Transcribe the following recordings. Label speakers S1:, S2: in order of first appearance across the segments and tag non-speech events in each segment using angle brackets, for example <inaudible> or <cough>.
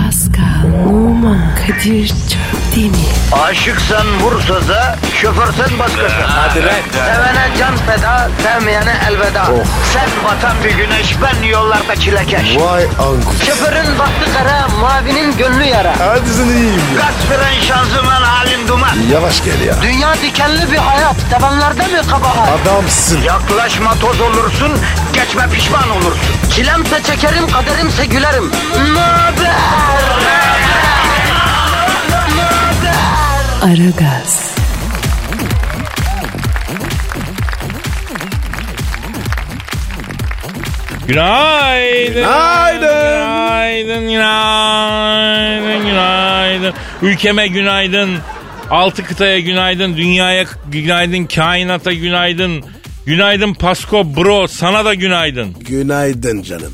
S1: Pascal, Oman, Kadir çok değil mi?
S2: Aşıksan vursa da şoförsen başkasın. Hadi
S3: lan.
S2: Sevene can feda, sevmeyene elveda. Sen batan bir güneş, ben yollarda çilekeş.
S4: Vay anku.
S2: Şoförün baktı kara, mavinin gönlü yara.
S4: Hadi sen iyiyim ya.
S2: Kasperen şanzıman halin duman.
S4: Yavaş gel ya.
S2: Dünya dikenli bir hayat, sevenlerde mi kabahar?
S4: Adamsın.
S2: Yaklaşma toz olursun, geçme pişman olursun. Çilemse çekerim, kaderimse gülerim. Möber!
S1: Aragaz,
S3: Günaydın.
S4: Günaydın.
S3: Günaydın. Günaydın. Günaydın. Ülkeme günaydın. Altı kıtaya günaydın. Dünyaya günaydın. Kainata günaydın. Günaydın Pasko bro. Sana da günaydın.
S4: Günaydın canım.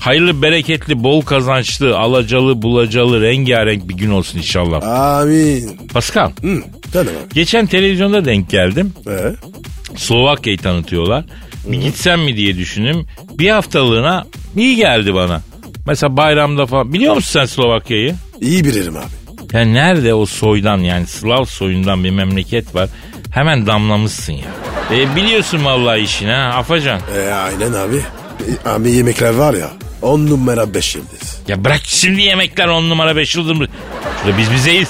S3: Hayırlı, bereketli, bol kazançlı, alacalı, bulacalı, rengarenk bir gün olsun inşallah.
S4: Amin.
S3: Pascal,
S4: Hı, canım abi.
S3: geçen televizyonda denk geldim.
S4: Ee?
S3: Slovakya'yı tanıtıyorlar. Bir gitsem mi diye düşündüm. Bir haftalığına iyi geldi bana. Mesela bayramda falan. Biliyor musun sen Slovakya'yı?
S4: İyi bilirim abi.
S3: Ya nerede o soydan yani Slav soyundan bir memleket var. Hemen damlamışsın ya. E, biliyorsun vallahi işini ha Afacan.
S4: E, aynen abi. E, abi yemekler var ya. On numara beş yıldız.
S3: Ya bırak şimdi yemekler on numara beş yıldız. Şurada biz bizeyiz.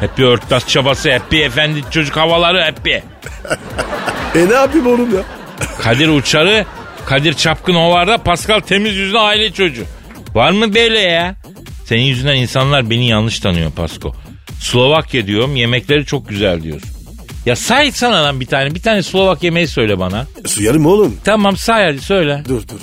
S3: Hep bir örtbas çabası, hep bir efendi çocuk havaları, hep bir.
S4: E ne yapayım oğlum ya?
S3: Kadir Uçarı, Kadir Çapkın Ovar'da Pascal temiz yüzlü aile çocuğu. Var mı böyle ya? Senin yüzünden insanlar beni yanlış tanıyor Pasko. Slovakya diyorum yemekleri çok güzel diyorsun. Ya say sana lan bir tane. Bir tane Slovak yemeği söyle bana.
S4: E, suyarım oğlum.
S3: Tamam say hadi söyle.
S4: Dur dur.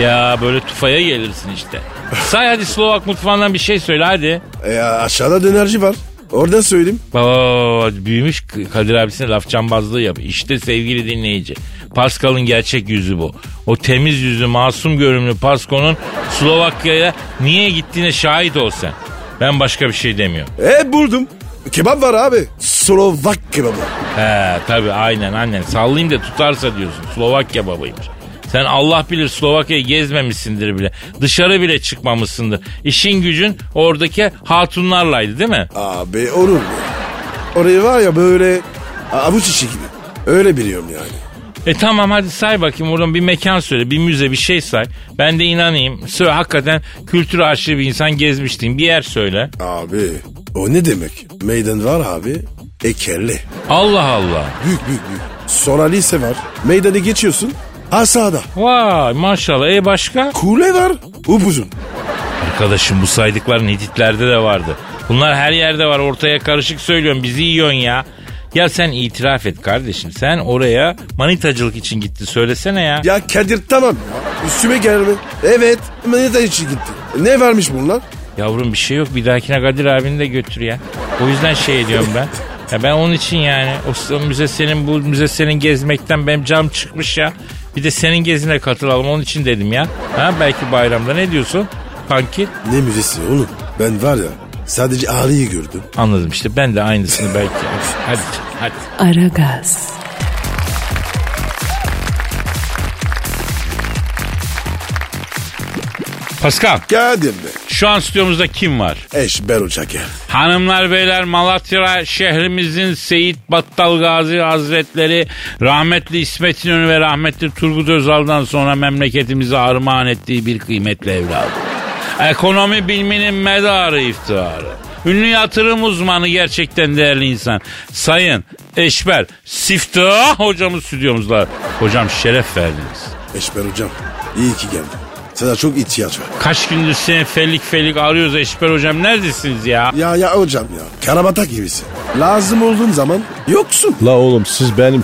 S3: Ya böyle tufaya gelirsin işte. Say hadi Slovak mutfağından bir şey söyle hadi.
S4: E, aşağıda dönerci var. Oradan söyleyeyim.
S3: Baba büyümüş Kadir abisine laf cambazlığı yap. İşte sevgili dinleyici. Pascal'ın gerçek yüzü bu. O temiz yüzlü masum görünümlü Pasko'nun Slovakya'ya niye gittiğine şahit ol sen. Ben başka bir şey demiyorum.
S4: E buldum. Kebap var abi. Slovak kebabı.
S3: He tabii aynen annen sallayayım da tutarsa diyorsun Slovak kebabıymış. Sen Allah bilir Slovakya'yı gezmemişsindir bile. Dışarı bile çıkmamışsındır. İşin gücün oradaki hatunlarlaydı değil mi?
S4: Abi olur mu? Orayı var ya böyle avuç içi gibi. Öyle biliyorum yani.
S3: E tamam hadi say bakayım oradan bir mekan söyle, bir müze bir şey say. Ben de inanayım. Söyle hakikaten kültür aşığı bir insan gezmiştin. Bir yer söyle.
S4: Abi o ne demek? Meydan var abi. Ekerli.
S3: Allah Allah.
S4: Büyük büyük büyük. Sonra lise var. Meydanı geçiyorsun. Ha sağda.
S3: Vay maşallah. E başka?
S4: Kule var. Upuzun.
S3: Arkadaşım bu saydıkların Hititlerde de vardı. Bunlar her yerde var. Ortaya karışık söylüyorum. Bizi yiyorsun ya. Ya sen itiraf et kardeşim. Sen oraya manitacılık için gitti. Söylesene ya.
S4: Ya Kadir tamam ya. Üstüme gelme. Evet. Manita içi gitti. Ne varmış bunlar?
S3: Yavrum bir şey yok. Bir dahakine Kadir abini de götür ya. O yüzden şey diyorum ben. Ya ben onun için yani o müze senin bu müze senin gezmekten benim cam çıkmış ya. Bir de senin gezine katılalım onun için dedim ya. Ha belki bayramda ne diyorsun? Kanki
S4: Ne müzesi oğlum? Ben var ya sadece ağrıyı gördüm.
S3: anladım işte ben de aynısını belki. Hadi canım, hadi.
S1: Aragaz,
S3: Pascal
S4: Kadir be.
S3: şu an stüdyomuzda kim var?
S4: Eş ben uçak ya.
S3: Hanımlar beyler Malatya şehrimizin Seyit Battal Gazi Hazretleri rahmetli İsmet İnönü ve rahmetli Turgut Özal'dan sonra memleketimize armağan ettiği bir kıymetli evladı. Ekonomi biliminin medarı iftiharı. Ünlü yatırım uzmanı gerçekten değerli insan. Sayın Eşber Siftah hocamız stüdyomuzda. Hocam şeref verdiniz.
S4: Eş ben hocam. İyi ki geldin. Sana çok ihtiyaç var.
S3: Kaç gündür seni felik felik arıyoruz Eşber hocam. Neredesiniz ya?
S4: Ya ya hocam ya. Karabata gibisin. Lazım olduğun zaman yoksun.
S5: La oğlum siz benim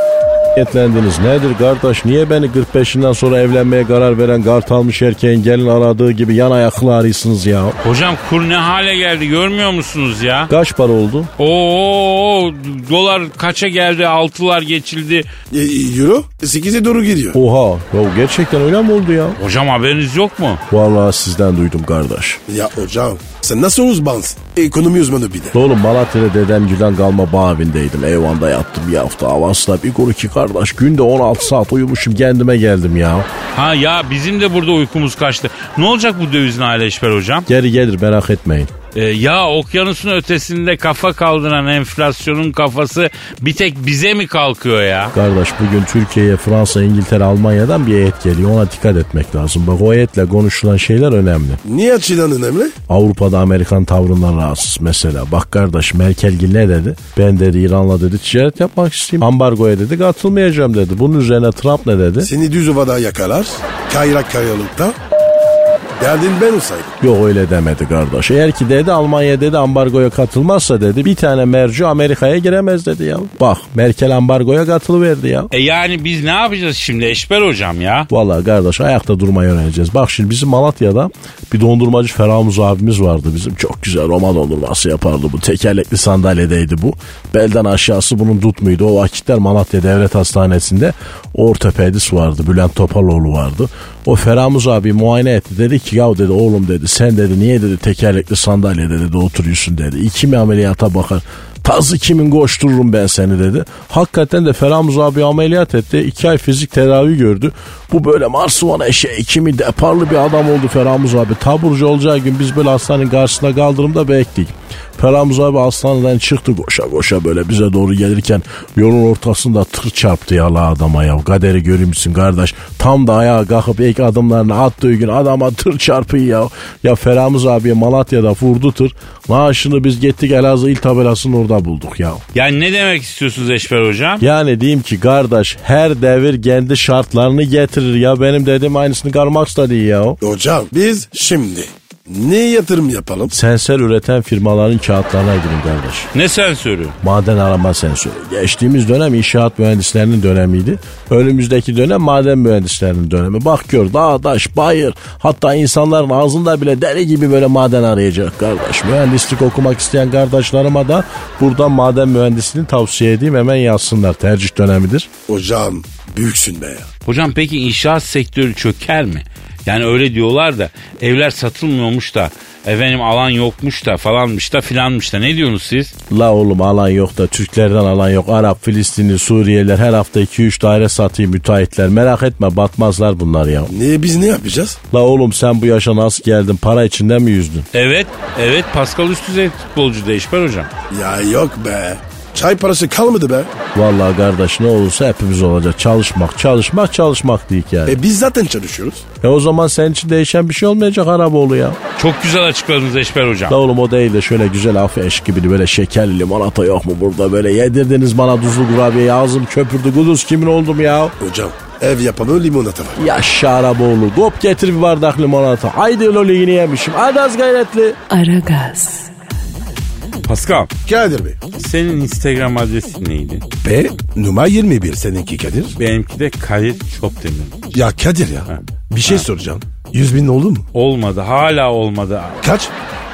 S5: yetlendiniz. Nedir kardeş? Niye beni 45'inden sonra evlenmeye karar veren gart almış erkeğin gelin aradığı gibi yan ayaklı arıyorsunuz ya?
S3: Hocam kur ne hale geldi görmüyor musunuz ya?
S5: Kaç para oldu?
S3: Oo dolar kaça geldi altılar geçildi.
S4: E, Euro 8'e doğru gidiyor.
S5: Oha. Ya gerçekten öyle mi oldu ya?
S3: Hocam haberiniz yok mu?
S5: Vallahi sizden duydum kardeş.
S4: Ya hocam Sen nasıl uzmansın? Ekonomi uzmanı bir de.
S6: Oğlum Malatya'da dedem Gülen kalma bağvindeydim. Eyvanda yattım bir hafta avansla bir kur iki kardeş. Günde 16 saat uyumuşum kendime geldim ya.
S3: Ha ya bizim de burada uykumuz kaçtı. Ne olacak bu dövizin aile işber hocam?
S6: Geri gelir merak etmeyin.
S3: Ee, ya okyanusun ötesinde kafa kaldıran enflasyonun kafası bir tek bize mi kalkıyor ya?
S6: Kardeş bugün Türkiye'ye Fransa, İngiltere, Almanya'dan bir heyet geliyor. Ona dikkat etmek lazım. Bak o heyetle konuşulan şeyler önemli.
S4: Niye açıdan önemli?
S6: Avrupa'da Amerikan tavrından rahatsız mesela. Bak kardeş Merkelgil ne dedi? Ben dedi İran'la dedi ticaret yapmak isteyeyim. Ambargoya dedi katılmayacağım dedi. Bunun üzerine Trump ne dedi?
S4: Seni düz ovada yakalar. Kayrak kayalıkta. Derdin ben olsaydım.
S6: Yok öyle demedi kardeş. Eğer ki dedi Almanya dedi ambargoya katılmazsa dedi bir tane merci Amerika'ya giremez dedi ya. Bak Merkel ambargoya katılıverdi ya.
S3: E yani biz ne yapacağız şimdi Eşber hocam ya?
S6: Vallahi kardeş ayakta durmayı öğreneceğiz. Bak şimdi bizim Malatya'da bir dondurmacı Ferhamuz abimiz vardı bizim. Çok güzel Roma dondurması yapardı bu. Tekerlekli sandalyedeydi bu. Belden aşağısı bunun tutmuydu. O vakitler Malatya Devlet Hastanesi'nde ortopedist vardı. Bülent Topaloğlu vardı. O Ferhamuz abi muayene etti. Dedi ki yahu dedi oğlum dedi sen dedi niye dedi tekerlekli sandalyede dedi oturuyorsun dedi. İki mi ameliyata bakar. Tazı kimin koştururum ben seni dedi. Hakikaten de Ferhamuz abi ameliyat etti. İki ay fizik tedavi gördü. Bu böyle Marsuvan eşeği kimi deparlı bir adam oldu Ferhamuz abi. Taburcu olacağı gün biz böyle hastanenin karşısında kaldırımda bekledik. Ferhamuz abi hastaneden çıktı koşa koşa böyle bize doğru gelirken yolun ortasında tır çarptı ya la adama ya. Kaderi görmüşsün kardeş. Tam da ayağa kalkıp ilk adımlarını attığı gün adama tır çarpıyor ya. Ya Ferhamuz abiye Malatya'da vurdu tır. Maaşını biz gittik Elazığ il tabelasının orada bulduk ya.
S3: Yani ne demek istiyorsunuz Eşber hocam?
S6: Yani diyeyim ki kardeş her devir kendi şartlarını getirir ya. Benim dediğim aynısını Karl Marx da diyor ya.
S4: Hocam biz şimdi ne yatırım yapalım?
S6: Sensör üreten firmaların kağıtlarına girin kardeş.
S3: Ne sensörü?
S6: Maden arama sensörü. Geçtiğimiz dönem inşaat mühendislerinin dönemiydi. Önümüzdeki dönem maden mühendislerinin dönemi. Bak gör dağ, taş, bayır hatta insanların ağzında bile deli gibi böyle maden arayacak kardeş. Mühendislik okumak isteyen kardeşlerime da buradan maden mühendisliğini tavsiye edeyim hemen yazsınlar. Tercih dönemidir.
S4: Hocam büyüksün be ya.
S3: Hocam peki inşaat sektörü çöker mi? Yani öyle diyorlar da evler satılmıyormuş da efendim alan yokmuş da falanmış da filanmış da ne diyorsunuz siz?
S6: La oğlum alan yok da Türklerden alan yok. Arap, Filistinli, Suriyeliler her hafta 2-3 daire satayım müteahhitler. Merak etme batmazlar bunlar ya.
S4: Ne biz ne yapacağız?
S6: La oğlum sen bu yaşa nasıl geldin? Para içinde mi yüzdün?
S3: Evet, evet Pascal Üstüzey futbolcu da Eşber hocam.
S4: Ya yok be. Çay parası kalmadı be.
S6: Vallahi kardeş ne olursa hepimiz olacak. Çalışmak, çalışmak, çalışmak deyik yani.
S4: E biz zaten çalışıyoruz.
S6: E o zaman senin için değişen bir şey olmayacak Araboğlu ya.
S3: Çok güzel açıkladınız Eşber hocam.
S6: La oğlum o değil de şöyle güzel hafif eşki gibi böyle şekerli limonata yok mu burada böyle yedirdiniz bana tuzlu kurabiye ağzım köpürdü kuduz kimin oldum ya.
S4: Hocam ev yapımı limonata var.
S6: Yaşa Araboğlu kop getir bir bardak limonata. Haydi loli yine yemişim hadi az gayretli.
S1: Aragaz.
S3: Pascal,
S4: Kadir Bey.
S3: senin Instagram adresin neydi?
S4: B numara 21 seninki Kadir.
S3: Benimki de Kadir Çopdemir.
S4: Ya Kadir ya. Bir şey soracağım. 100 bin oldu mu?
S3: Olmadı, hala olmadı.
S4: Kaç?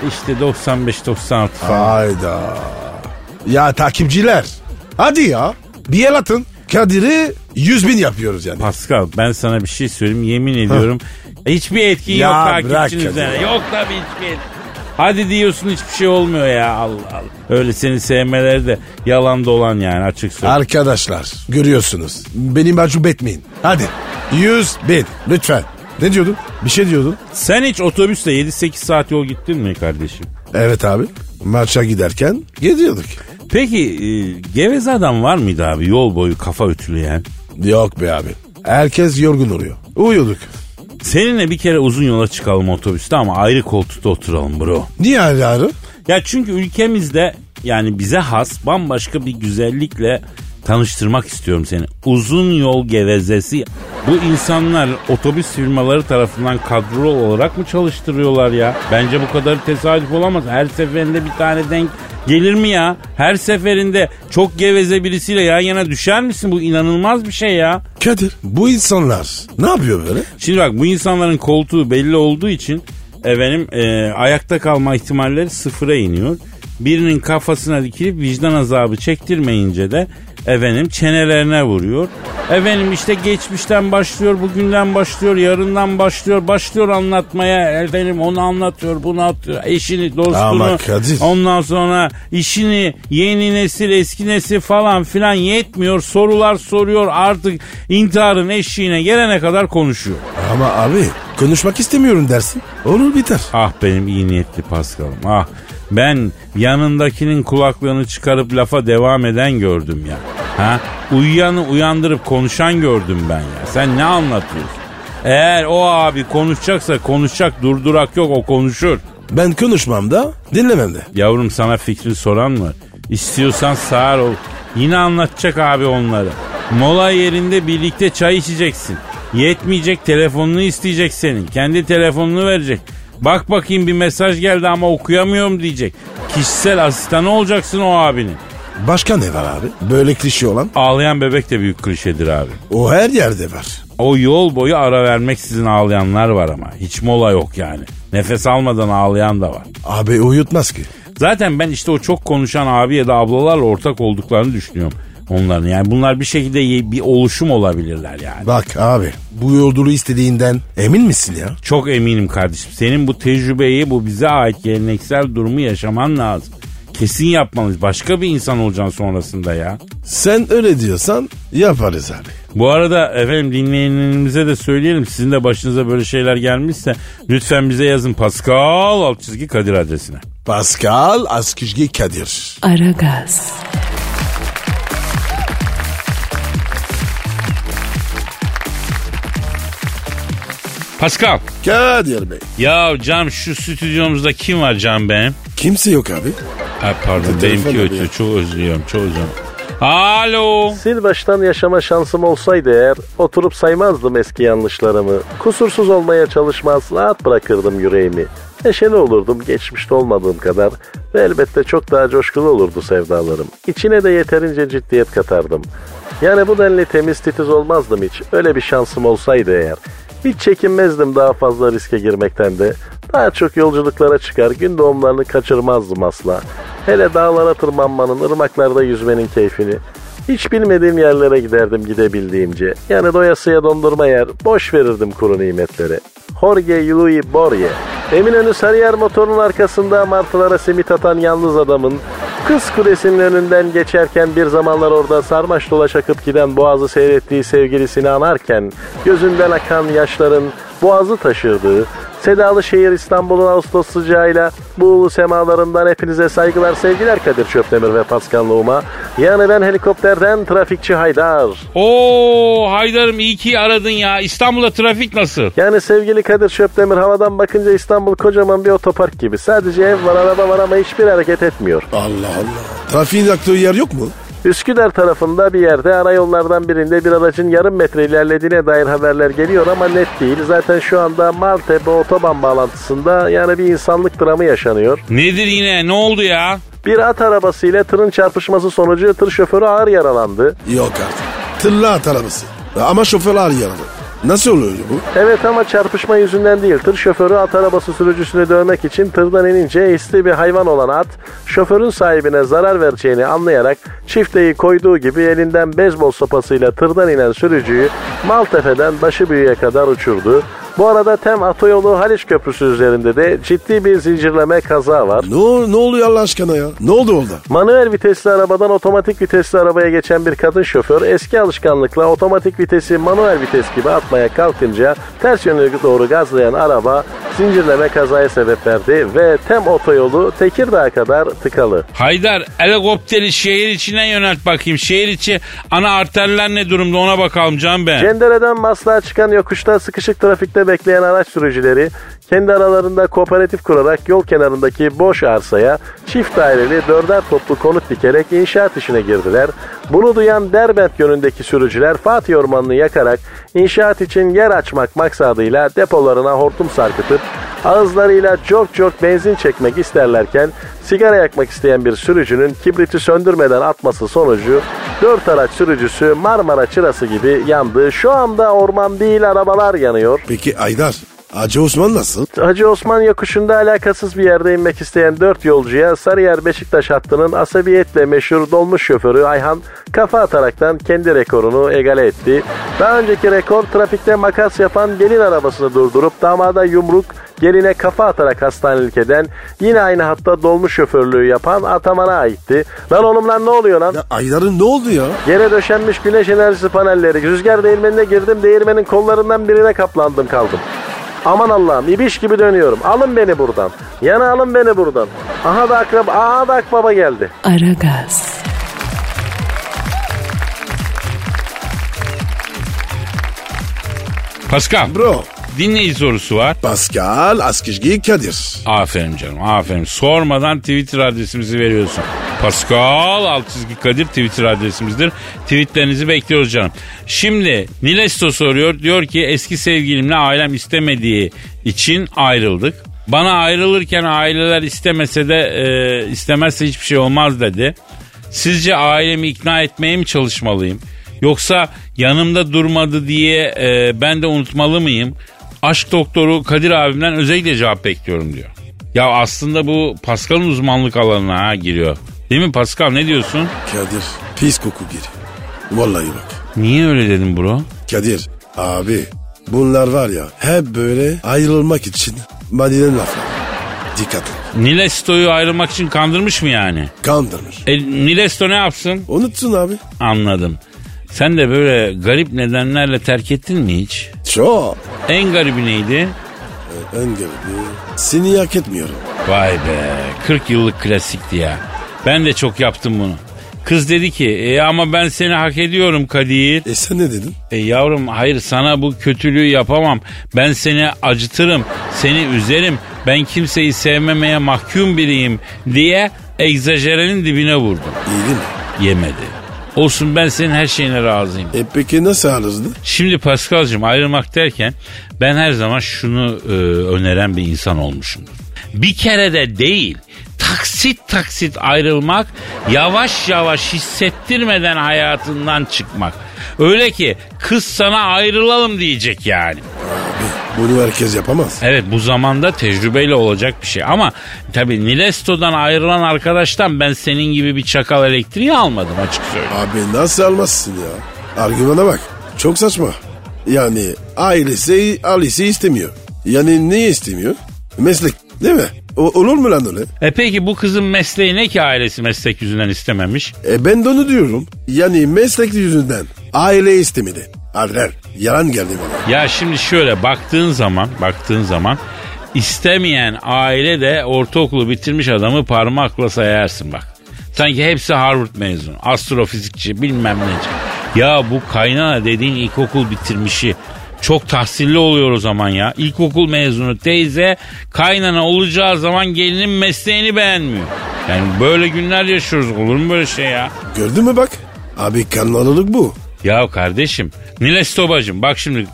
S3: İşte 95-96 falan.
S4: Hayda. Ya takipçiler. Hadi ya. Bir el atın. Kadir'i 100 bin yapıyoruz yani.
S3: Pascal ben sana bir şey söyleyeyim yemin ediyorum. Hiçbir etkin
S4: Ya
S3: yok
S4: bırak
S3: takipçinin
S4: ya.
S3: üzerine. Yok tabii hiçbir etkin. Hadi diyorsun hiçbir şey olmuyor ya Allah Allah. Öyle seni sevmeleri de yalan dolan yani açık söyle.
S4: Arkadaşlar görüyorsunuz. Beni mahcup etmeyin. Hadi. 100 bin lütfen. Ne diyordun? Bir şey diyordun.
S3: Sen hiç otobüsle 7-8 saat yol gittin mi kardeşim?
S4: Evet abi. Maça giderken geziyorduk.
S3: Peki e, geveze adam var mıydı abi yol boyu kafa ütüleyen?
S4: Yok be abi. Herkes yorgun oluyor. Uyuyorduk.
S3: Seninle bir kere uzun yola çıkalım otobüste ama ayrı koltukta oturalım bro.
S4: Niye ayrı ayrı?
S3: Ya çünkü ülkemizde yani bize has bambaşka bir güzellikle tanıştırmak istiyorum seni. Uzun yol gevezesi. Bu insanlar otobüs firmaları tarafından kadrolu olarak mı çalıştırıyorlar ya? Bence bu kadar tesadüf olamaz. Her seferinde bir tane denk gelir mi ya? Her seferinde çok geveze birisiyle yan yana düşer misin? Bu inanılmaz bir şey ya.
S4: Kadir bu insanlar ne yapıyor böyle?
S3: Şimdi bak bu insanların koltuğu belli olduğu için efendim e, ayakta kalma ihtimalleri sıfıra iniyor. Birinin kafasına dikilip vicdan azabı çektirmeyince de Efendim çenelerine vuruyor. Efendim işte geçmişten başlıyor, bugünden başlıyor, yarından başlıyor. Başlıyor anlatmaya efendim onu anlatıyor, bunu atıyor. Eşini, dostunu.
S4: Ama Kadir.
S3: Ondan sonra işini yeni nesil, eski nesil falan filan yetmiyor. Sorular soruyor artık intiharın eşiğine gelene kadar konuşuyor.
S4: Ama abi konuşmak istemiyorum dersin. Olur biter.
S3: Ah benim iyi niyetli Paskal'ım ah. Ben yanındakinin kulaklığını çıkarıp lafa devam eden gördüm ya. Ha? Uyuyanı uyandırıp konuşan gördüm ben ya. Sen ne anlatıyorsun? Eğer o abi konuşacaksa konuşacak durdurak yok o konuşur.
S4: Ben konuşmam da dinlemem de.
S3: Yavrum sana fikri soran mı? İstiyorsan sağır ol. Yine anlatacak abi onları. Mola yerinde birlikte çay içeceksin. Yetmeyecek telefonunu isteyecek senin. Kendi telefonunu verecek. Bak bakayım bir mesaj geldi ama okuyamıyorum diyecek. Kişisel asistanı olacaksın o abinin.
S4: Başka ne var abi? Böyle klişe olan.
S3: Ağlayan bebek de büyük klişedir abi.
S4: O her yerde var.
S3: O yol boyu ara vermek sizin ağlayanlar var ama. Hiç mola yok yani. Nefes almadan ağlayan da var.
S4: Abi uyutmaz ki.
S3: Zaten ben işte o çok konuşan abi ya da ablalarla ortak olduklarını düşünüyorum onların. Yani bunlar bir şekilde ye- bir oluşum olabilirler yani.
S4: Bak abi bu yolculuğu istediğinden emin misin ya?
S3: Çok eminim kardeşim. Senin bu tecrübeyi, bu bize ait geleneksel durumu yaşaman lazım. Kesin yapmalıyız. Başka bir insan olacaksın sonrasında ya.
S4: Sen öyle diyorsan yaparız abi.
S3: Bu arada efendim dinleyenlerimize de söyleyelim. Sizin de başınıza böyle şeyler gelmişse lütfen bize yazın Pascal alt çizgi Kadir adresine.
S4: Pascal Askizgi Kadir.
S1: Aragaz,
S3: Pascal.
S4: Kadir Bey.
S3: Ya Can şu stüdyomuzda kim var Can benim?
S4: Kimse yok abi.
S3: Ha pardon
S4: Telefon
S3: benimki
S4: arıyor.
S3: ötüyor. Çok özlüyorum. Çok özlüyorum. Alo.
S6: Sil baştan yaşama şansım olsaydı eğer oturup saymazdım eski yanlışlarımı. Kusursuz olmaya çalışmaz rahat bırakırdım yüreğimi. Neşeli olurdum geçmişte olmadığım kadar ve elbette çok daha coşkulu olurdu sevdalarım. İçine de yeterince ciddiyet katardım. Yani bu denli temiz titiz olmazdım hiç. Öyle bir şansım olsaydı eğer. Hiç çekinmezdim daha fazla riske girmekten de. Daha çok yolculuklara çıkar, gün doğumlarını kaçırmazdım asla. Hele dağlara tırmanmanın, ırmaklarda yüzmenin keyfini. Hiç bilmediğim yerlere giderdim gidebildiğimce. Yani doyasıya dondurma yer, boş verirdim kuru nimetleri. Jorge Luis Borge. Eminönü Sarıyer motorun arkasında martılara simit atan yalnız adamın, kız kulesinin önünden geçerken bir zamanlar orada sarmaş dolaş akıp giden boğazı seyrettiği sevgilisini anarken, gözünden akan yaşların boğazı taşırdığı, Sedalı şehir İstanbul'un Ağustos sıcağıyla bu ulu semalarından hepinize saygılar sevgiler Kadir Çöpdemir ve Pascal Numa. Yani ben helikopterden trafikçi Haydar.
S3: Oo Haydar'ım iyi ki aradın ya. İstanbul'da trafik nasıl?
S6: Yani sevgili Kadir Çöpdemir havadan bakınca İstanbul kocaman bir otopark gibi. Sadece ev var araba var ama hiçbir hareket etmiyor.
S4: Allah Allah. Trafiğin aktığı yer yok mu?
S6: Üsküdar tarafında bir yerde ara yollardan birinde bir aracın yarım metre ilerlediğine dair haberler geliyor ama net değil. Zaten şu anda Maltepe otoban bağlantısında yani bir insanlık dramı yaşanıyor.
S3: Nedir yine? Ne oldu ya?
S6: Bir at arabasıyla tırın çarpışması sonucu tır şoförü ağır yaralandı.
S4: Yok artık. Tırla at arabası. Ama şoförler yaralı. Nasıl oluyor bu?
S6: Evet ama çarpışma yüzünden değil. Tır şoförü at arabası sürücüsünü dövmek için tırdan inince hisli bir hayvan olan at, şoförün sahibine zarar vereceğini anlayarak çifteyi koyduğu gibi elinden beyzbol sopasıyla tırdan inen sürücüyü Maltepe'den başı büyüye kadar uçurdu. Bu arada tem otoyolu Haliç Köprüsü üzerinde de ciddi bir zincirleme kaza var.
S4: Ne, ol- ne oluyor Allah aşkına ya? Ne oldu orada?
S6: Manuel vitesli arabadan otomatik vitesli arabaya geçen bir kadın şoför eski alışkanlıkla otomatik vitesi manuel vites gibi atmaya kalkınca ters yöne doğru gazlayan araba zincirleme kazaya sebep verdi ve tem otoyolu Tekirdağ'a kadar tıkalı.
S3: Haydar helikopteri şehir içine yönelt bakayım. Şehir içi ana arterler ne durumda ona bakalım Can ben.
S6: Cendere'den Maslak'a çıkan yokuşta sıkışık trafikte bekleyen araç sürücüleri kendi aralarında kooperatif kurarak yol kenarındaki boş arsaya çift daireli dörder toplu konut dikerek inşaat işine girdiler. Bunu duyan Derbent yönündeki sürücüler Fatih Ormanı'nı yakarak inşaat için yer açmak maksadıyla depolarına hortum sarkıtıp ağızlarıyla çok çok benzin çekmek isterlerken sigara yakmak isteyen bir sürücünün kibriti söndürmeden atması sonucu 4 araç sürücüsü Marmara çırası gibi yandı. Şu anda orman değil arabalar yanıyor.
S4: Peki Aydar Hacı Osman nasıl?
S6: Hacı Osman yokuşunda alakasız bir yerde inmek isteyen 4 yolcuya Sarıyer Beşiktaş hattının asabiyetle meşhur dolmuş şoförü Ayhan kafa ataraktan kendi rekorunu egale etti. Daha önceki rekor trafikte makas yapan gelin arabasını durdurup damada yumruk geline kafa atarak hastanelik eden yine aynı hatta dolmuş şoförlüğü yapan Ataman'a aitti. Lan oğlum lan ne oluyor lan?
S4: Ya Aydar'ın ne oldu ya?
S6: Yere döşenmiş güneş enerjisi panelleri. Rüzgar değirmenine girdim. Değirmenin kollarından birine kaplandım kaldım. Aman Allah'ım ibiş gibi dönüyorum. Alın beni buradan. Yana alın beni buradan. Aha da akrab, aha da akbaba geldi.
S1: Aragaz,
S3: Pascal
S4: Bro
S3: dinleyici sorusu var.
S4: Pascal Askizgi Kadir.
S3: Aferin canım aferin. Sormadan Twitter adresimizi veriyorsun. Pascal alt çizgi Kadir Twitter adresimizdir. Tweetlerinizi bekliyoruz canım. Şimdi Nilesto soruyor. Diyor ki eski sevgilimle ailem istemediği için ayrıldık. Bana ayrılırken aileler istemese de e, istemezse hiçbir şey olmaz dedi. Sizce ailemi ikna etmeye mi çalışmalıyım? Yoksa yanımda durmadı diye e, ben de unutmalı mıyım? Aşk doktoru Kadir abimden özellikle cevap bekliyorum diyor. Ya aslında bu Pascal'ın uzmanlık alanına ha, giriyor. Değil mi Pascal ne diyorsun?
S4: Kadir pis koku gir. Vallahi bak.
S3: Niye öyle dedin bro?
S4: Kadir abi bunlar var ya hep böyle ayrılmak için madiden laflar. Dikkat et.
S3: Nilesto'yu ayrılmak için kandırmış mı yani?
S4: Kandırmış.
S3: E, Nilesto ne yapsın?
S4: Unutsun abi.
S3: Anladım. Sen de böyle garip nedenlerle terk ettin mi hiç?
S4: Çok.
S3: En garibi neydi?
S4: Ben garibi. Seni hak etmiyorum.
S3: Vay be 40 yıllık klasikti ya. Ben de çok yaptım bunu. Kız dedi ki e, ama ben seni hak ediyorum Kadir.
S4: E sen ne dedin?
S3: E, yavrum hayır sana bu kötülüğü yapamam. Ben seni acıtırım, seni üzerim. Ben kimseyi sevmemeye mahkum biriyim diye egzajerenin dibine vurdum.
S4: İyi değil mi?
S3: Yemedi. Olsun ben senin her şeyine razıyım.
S4: E peki nasıl ayrıldın?
S3: Şimdi Paskal'cığım ayrılmak derken ben her zaman şunu e, öneren bir insan olmuşum. Bir kere de değil taksit taksit ayrılmak yavaş yavaş hissettirmeden hayatından çıkmak. Öyle ki kız sana ayrılalım diyecek yani.
S4: Bunu herkes yapamaz.
S3: Evet bu zamanda tecrübeyle olacak bir şey. Ama tabii Nilesto'dan ayrılan arkadaştan ben senin gibi bir çakal elektriği almadım açık söyleyeyim.
S4: Abi nasıl almazsın ya? Argümana bak. Çok saçma. Yani ailesi, ailesi istemiyor. Yani niye istemiyor? Meslek değil mi? O, olur mu lan öyle?
S3: E peki bu kızın mesleği ne ki ailesi meslek yüzünden istememiş?
S4: E ben de onu diyorum. Yani meslek yüzünden aile istemedi. Adler yalan geldi bana.
S3: Ya şimdi şöyle baktığın zaman, baktığın zaman istemeyen aile de ortaokulu bitirmiş adamı parmakla sayarsın bak. Sanki hepsi Harvard mezunu, astrofizikçi bilmem neci. Ya bu kaynana dediğin ilkokul bitirmişi çok tahsilli oluyor o zaman ya. İlkokul mezunu teyze kaynana olacağı zaman gelinin mesleğini beğenmiyor. Yani böyle günler yaşıyoruz olur mu böyle şey ya?
S4: Gördün mü bak? Abi kanlılık bu.
S3: Ya kardeşim Niles Tobacım bak şimdi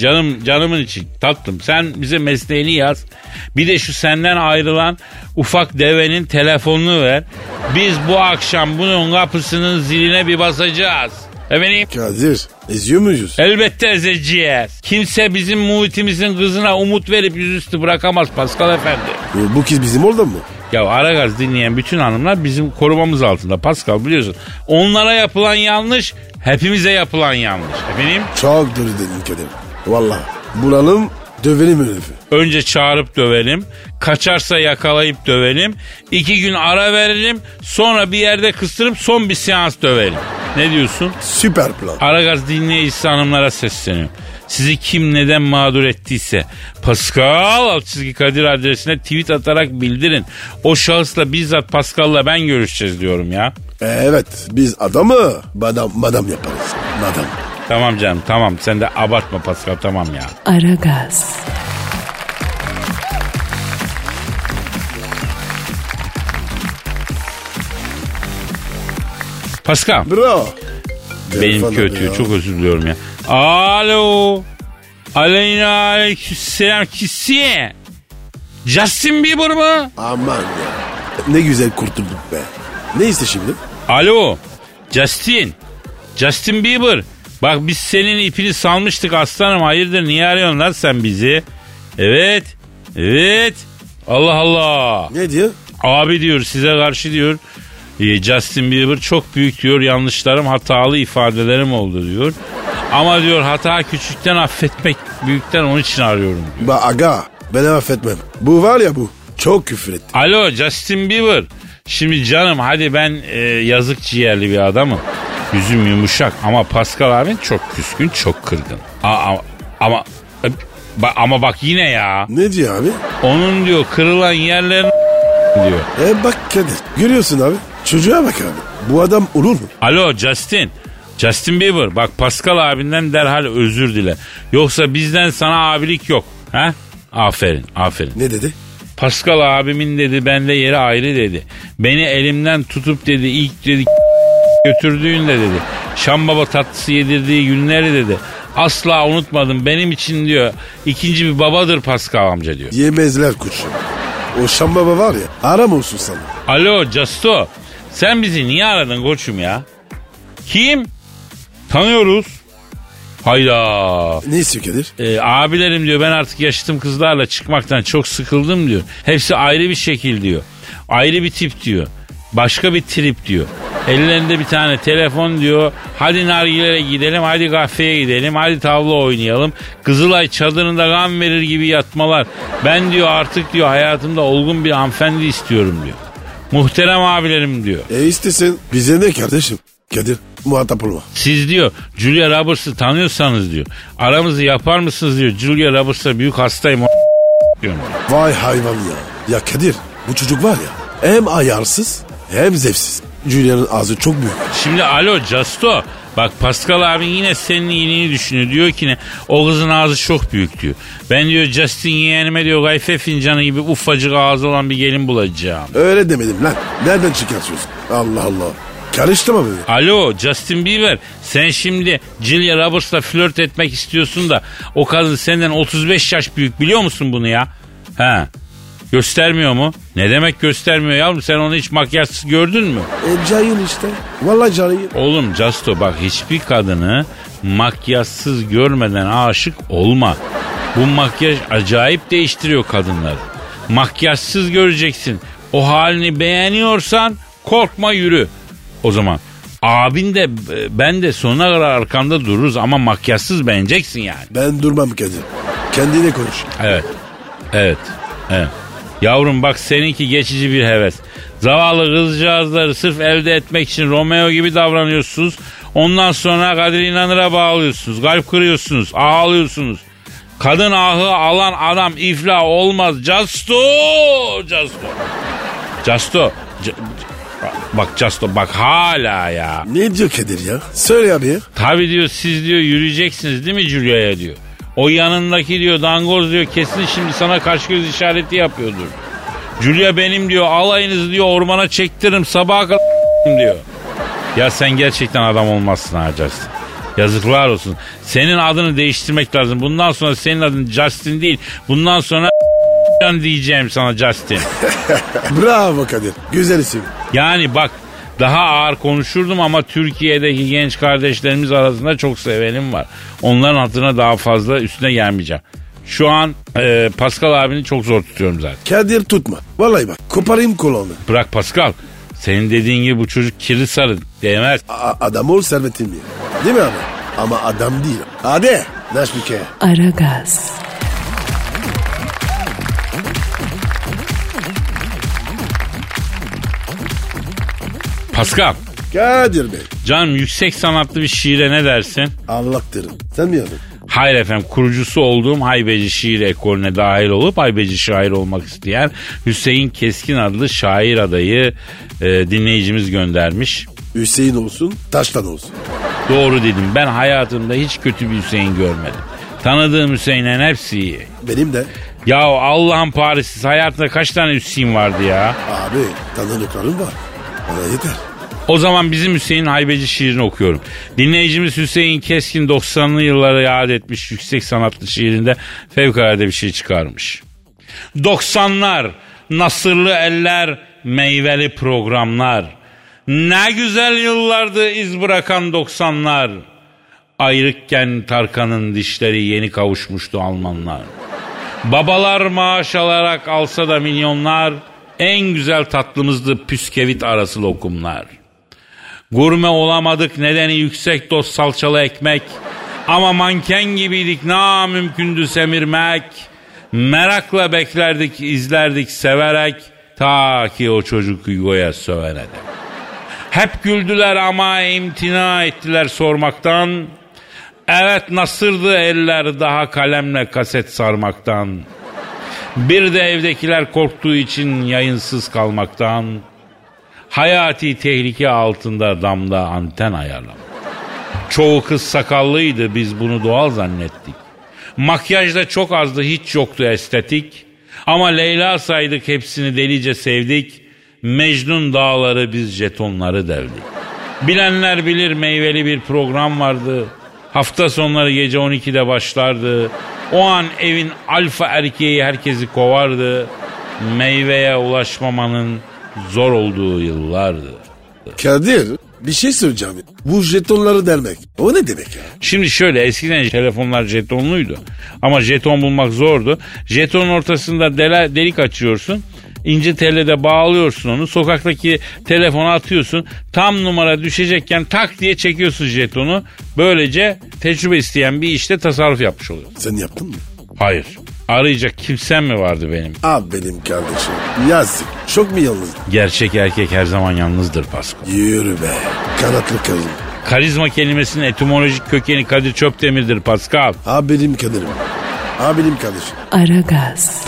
S3: canım canımın için tatlım sen bize mesleğini yaz. Bir de şu senden ayrılan ufak devenin telefonunu ver. Biz bu akşam bunun kapısının ziline bir basacağız. Efendim?
S4: Kadir eziyor muyuz?
S3: Elbette ezeceğiz. Kimse bizim muhitimizin kızına umut verip yüzüstü bırakamaz Pascal Efendi.
S4: E, bu kız bizim oldu mu?
S3: Ya Aragaz dinleyen bütün hanımlar bizim korumamız altında Pascal biliyorsun. Onlara yapılan yanlış hepimize yapılan yanlış. Efendim?
S4: Çok doğru dedin Kadir. Valla bulalım dövelim herifi.
S3: Önce çağırıp dövelim. Kaçarsa yakalayıp dövelim. iki gün ara verelim. Sonra bir yerde kıstırıp son bir seans dövelim. Ne diyorsun?
S4: Süper plan.
S3: Aragaz dinleyicisi hanımlara sesleniyorum. Sizi kim neden mağdur ettiyse Pascal alt çizgi Kadir adresine tweet atarak bildirin. O şahısla bizzat Pascal'la ben görüşeceğiz diyorum ya.
S4: E, Evet biz adamı madam, madam yaparız. Madam.
S3: Tamam canım tamam sen de abartma Pascal tamam ya.
S1: Aragaz,
S3: Pascal
S4: Bro.
S3: Benim
S4: Telefon
S3: kötü.
S4: arıyor.
S3: Çok özür diliyorum ya. Alo. Aleyna aleykümselam kisi. Justin Bieber mı?
S4: Aman ya. Ne güzel kurtulduk be. Ne iste şimdi?
S3: Alo. Justin. Justin Bieber. Bak biz senin ipini salmıştık aslanım. Hayırdır niye arıyorsun lan sen bizi? Evet. Evet. Allah Allah.
S4: Ne diyor?
S3: Abi diyor size karşı diyor e, Justin Bieber çok büyük diyor yanlışlarım hatalı ifadelerim oldu diyor. Ama diyor hata küçükten affetmek büyükten onun için arıyorum.
S4: Ba aga ben affetmem. Bu var ya bu. Çok küfür etti.
S3: Alo Justin Bieber. Şimdi canım hadi ben e, yazık ciğerli bir adamım. Yüzüm yumuşak ama Pascal abin çok küskün çok kırgın. Aa, ama ama, ama bak yine ya.
S4: Ne diyor abi?
S3: Onun diyor kırılan yerlerin <laughs> diyor.
S4: E bak Kadir. Görüyorsun abi. Çocuğa bak abi. Bu adam olur mu?
S3: Alo Justin. Justin Bieber bak Pascal abinden derhal özür dile. Yoksa bizden sana abilik yok. Ha? Aferin aferin.
S4: Ne dedi?
S3: Pascal abimin dedi bende yeri ayrı dedi. Beni elimden tutup dedi ilk dedi <laughs> götürdüğünde dedi. Şam baba tatlısı yedirdiği günleri dedi. Asla unutmadım benim için diyor ikinci bir babadır Pascal amca diyor.
S4: Yemezler kurşun. O Şam Baba var ya haram olsun sana.
S3: Alo Casto sen bizi niye aradın koçum ya? Kim? Tanıyoruz. Hayda.
S4: Ne istiyor Kadir?
S3: Ee, abilerim diyor ben artık yaşıtım kızlarla çıkmaktan çok sıkıldım diyor. Hepsi ayrı bir şekil diyor. Ayrı bir tip diyor. Başka bir trip diyor. Ellerinde bir tane telefon diyor. Hadi nargilere gidelim, hadi kafeye gidelim, hadi tavla oynayalım. Kızılay çadırında gam verir gibi yatmalar. Ben diyor artık diyor hayatımda olgun bir hanımefendi istiyorum diyor. Muhterem abilerim diyor.
S4: E istesin bize ne kardeşim? Kadir muhatap olma.
S3: Siz diyor Julia Roberts'ı tanıyorsanız diyor. Aramızı yapar mısınız diyor. Julia Roberts'a büyük hastayım o- diyorum.
S4: Vay hayvan ya. Ya Kadir bu çocuk var ya hem ayarsız hem zevksiz. Julia'nın ağzı çok büyük.
S3: Şimdi alo Casto. Bak Pascal abin yine senin iyiliğini düşünüyor. Diyor ki ne? O kızın ağzı çok büyük diyor. Ben diyor Justin yeğenime diyor gayfe fincanı gibi ufacık ağzı olan bir gelin bulacağım.
S4: Öyle demedim lan. Nereden çıkartıyorsun? Allah Allah. Karıştırma beni.
S3: Alo Justin Bieber sen şimdi Julia Roberts'la flört etmek istiyorsun da o kadın senden 35 yaş büyük biliyor musun bunu ya? He. Göstermiyor mu? Ne demek göstermiyor yavrum sen onu hiç makyajsız gördün mü?
S4: E cahil işte. Vallahi cahil.
S3: Oğlum Casto bak hiçbir kadını makyajsız görmeden aşık olma. Bu makyaj acayip değiştiriyor kadınları. Makyajsız göreceksin. O halini beğeniyorsan korkma yürü. O zaman abin de e, ben de sonuna kadar arkanda dururuz ama makyajsız beğeneceksin yani.
S4: Ben durmam Kadir. Kendine konuş.
S3: Evet. Evet. Evet. Yavrum bak seninki geçici bir heves. Zavallı kızcağızları sırf elde etmek için Romeo gibi davranıyorsunuz. Ondan sonra Kadir İnanır'a bağlıyorsunuz. Kalp kırıyorsunuz. Ağlıyorsunuz. Kadın ahı alan adam iflah olmaz. Casto! Casto! Casto! C- c- bak Casto bak hala ya.
S4: Ne diyor Kadir ya? Söyle abi ya.
S3: Tabi diyor siz diyor yürüyeceksiniz değil mi Julia'ya diyor. O yanındaki diyor dangoz diyor kesin şimdi sana kaş göz işareti yapıyordur. Julia benim diyor alayınızı diyor ormana çektiririm sabaha kadar <laughs> diyor. Ya sen gerçekten adam olmazsın ha Justin. Yazıklar olsun. Senin adını değiştirmek lazım. Bundan sonra senin adın Justin değil. Bundan sonra <laughs> diyeceğim sana Justin.
S4: Bravo Kadir. Güzel isim.
S3: Yani bak daha ağır konuşurdum ama Türkiye'deki genç kardeşlerimiz arasında çok sevenim var. Onların hatırına daha fazla üstüne gelmeyeceğim. Şu an e, Pascal abini çok zor tutuyorum zaten.
S4: Kadir tutma. Vallahi bak koparayım kolonu.
S3: Bırak Pascal. Senin dediğin gibi bu çocuk kirli sarı değmez.
S4: A- adam ol servetin diye. Değil mi abi? Ama adam değil. Hadi. Naş bir kere.
S1: Aragaz,
S3: Pascal.
S4: Kadir Bey.
S3: Canım yüksek sanatlı bir şiire ne dersin?
S4: Anlattırım. Sen mi yadın?
S3: Hayır efendim kurucusu olduğum haybeci şiir ekolüne dahil olup haybeci şair olmak isteyen Hüseyin Keskin adlı şair adayı e, dinleyicimiz göndermiş.
S4: Hüseyin olsun, taştan olsun.
S3: Doğru dedim. Ben hayatımda hiç kötü bir Hüseyin görmedim. Tanıdığım Hüseyin'in hepsi iyi.
S4: Benim de
S3: Ya Allah'ın Paris'siz hayatında kaç tane Hüseyin vardı ya?
S4: abi tanıdıklarım var. Bana yeter.
S3: O zaman bizim Hüseyin Haybeci şiirini okuyorum. Dinleyicimiz Hüseyin Keskin 90'lı yıllara yad etmiş yüksek sanatlı şiirinde fevkalade bir şey çıkarmış. 90'lar, nasırlı eller, meyveli programlar. Ne güzel yıllardı iz bırakan 90'lar. Ayrıkken Tarkan'ın dişleri yeni kavuşmuştu Almanlar. Babalar maaş alarak alsa da milyonlar, en güzel tatlımızdı püskevit arası lokumlar. Gurme olamadık nedeni yüksek doz salçalı ekmek. Ama manken gibiydik na mümkündü semirmek. Merakla beklerdik, izlerdik severek. Ta ki o çocuk Hugo'ya sövene dek. Hep güldüler ama imtina ettiler sormaktan. Evet nasırdı eller daha kalemle kaset sarmaktan. Bir de evdekiler korktuğu için yayınsız kalmaktan. Hayati tehlike altında damda anten ayarlamak. Çoğu kız sakallıydı biz bunu doğal zannettik. Makyaj da çok azdı hiç yoktu estetik. Ama Leyla saydık hepsini delice sevdik. Mecnun dağları biz jetonları devdik. Bilenler bilir meyveli bir program vardı. Hafta sonları gece 12'de başlardı. O an evin alfa erkeği herkesi kovardı. Meyveye ulaşmamanın zor olduğu yıllardı.
S4: Kadir bir şey söyleyeceğim. Bu jetonları delmek. O ne demek ya?
S3: Şimdi şöyle eskiden telefonlar jetonluydu. Ama jeton bulmak zordu. Jetonun ortasında dele- delik açıyorsun. İnce telle de bağlıyorsun onu. Sokaktaki telefona atıyorsun. Tam numara düşecekken tak diye çekiyorsun jetonu. Böylece tecrübe isteyen bir işte tasarruf yapmış oluyorsun.
S4: Sen yaptın mı?
S3: Hayır. Arayacak kimsem mi vardı benim?
S4: Abi benim kardeşim. Yazık. Çok mu yalnız?
S3: Gerçek erkek her zaman yalnızdır Pasko.
S4: Yürü be. Kanatlı kadın.
S3: Karizma kelimesinin etimolojik kökeni Kadir Çöpdemir'dir Pascal.
S4: Abi benim Kadir'im. Abi benim kardeşim.
S1: Aragaz,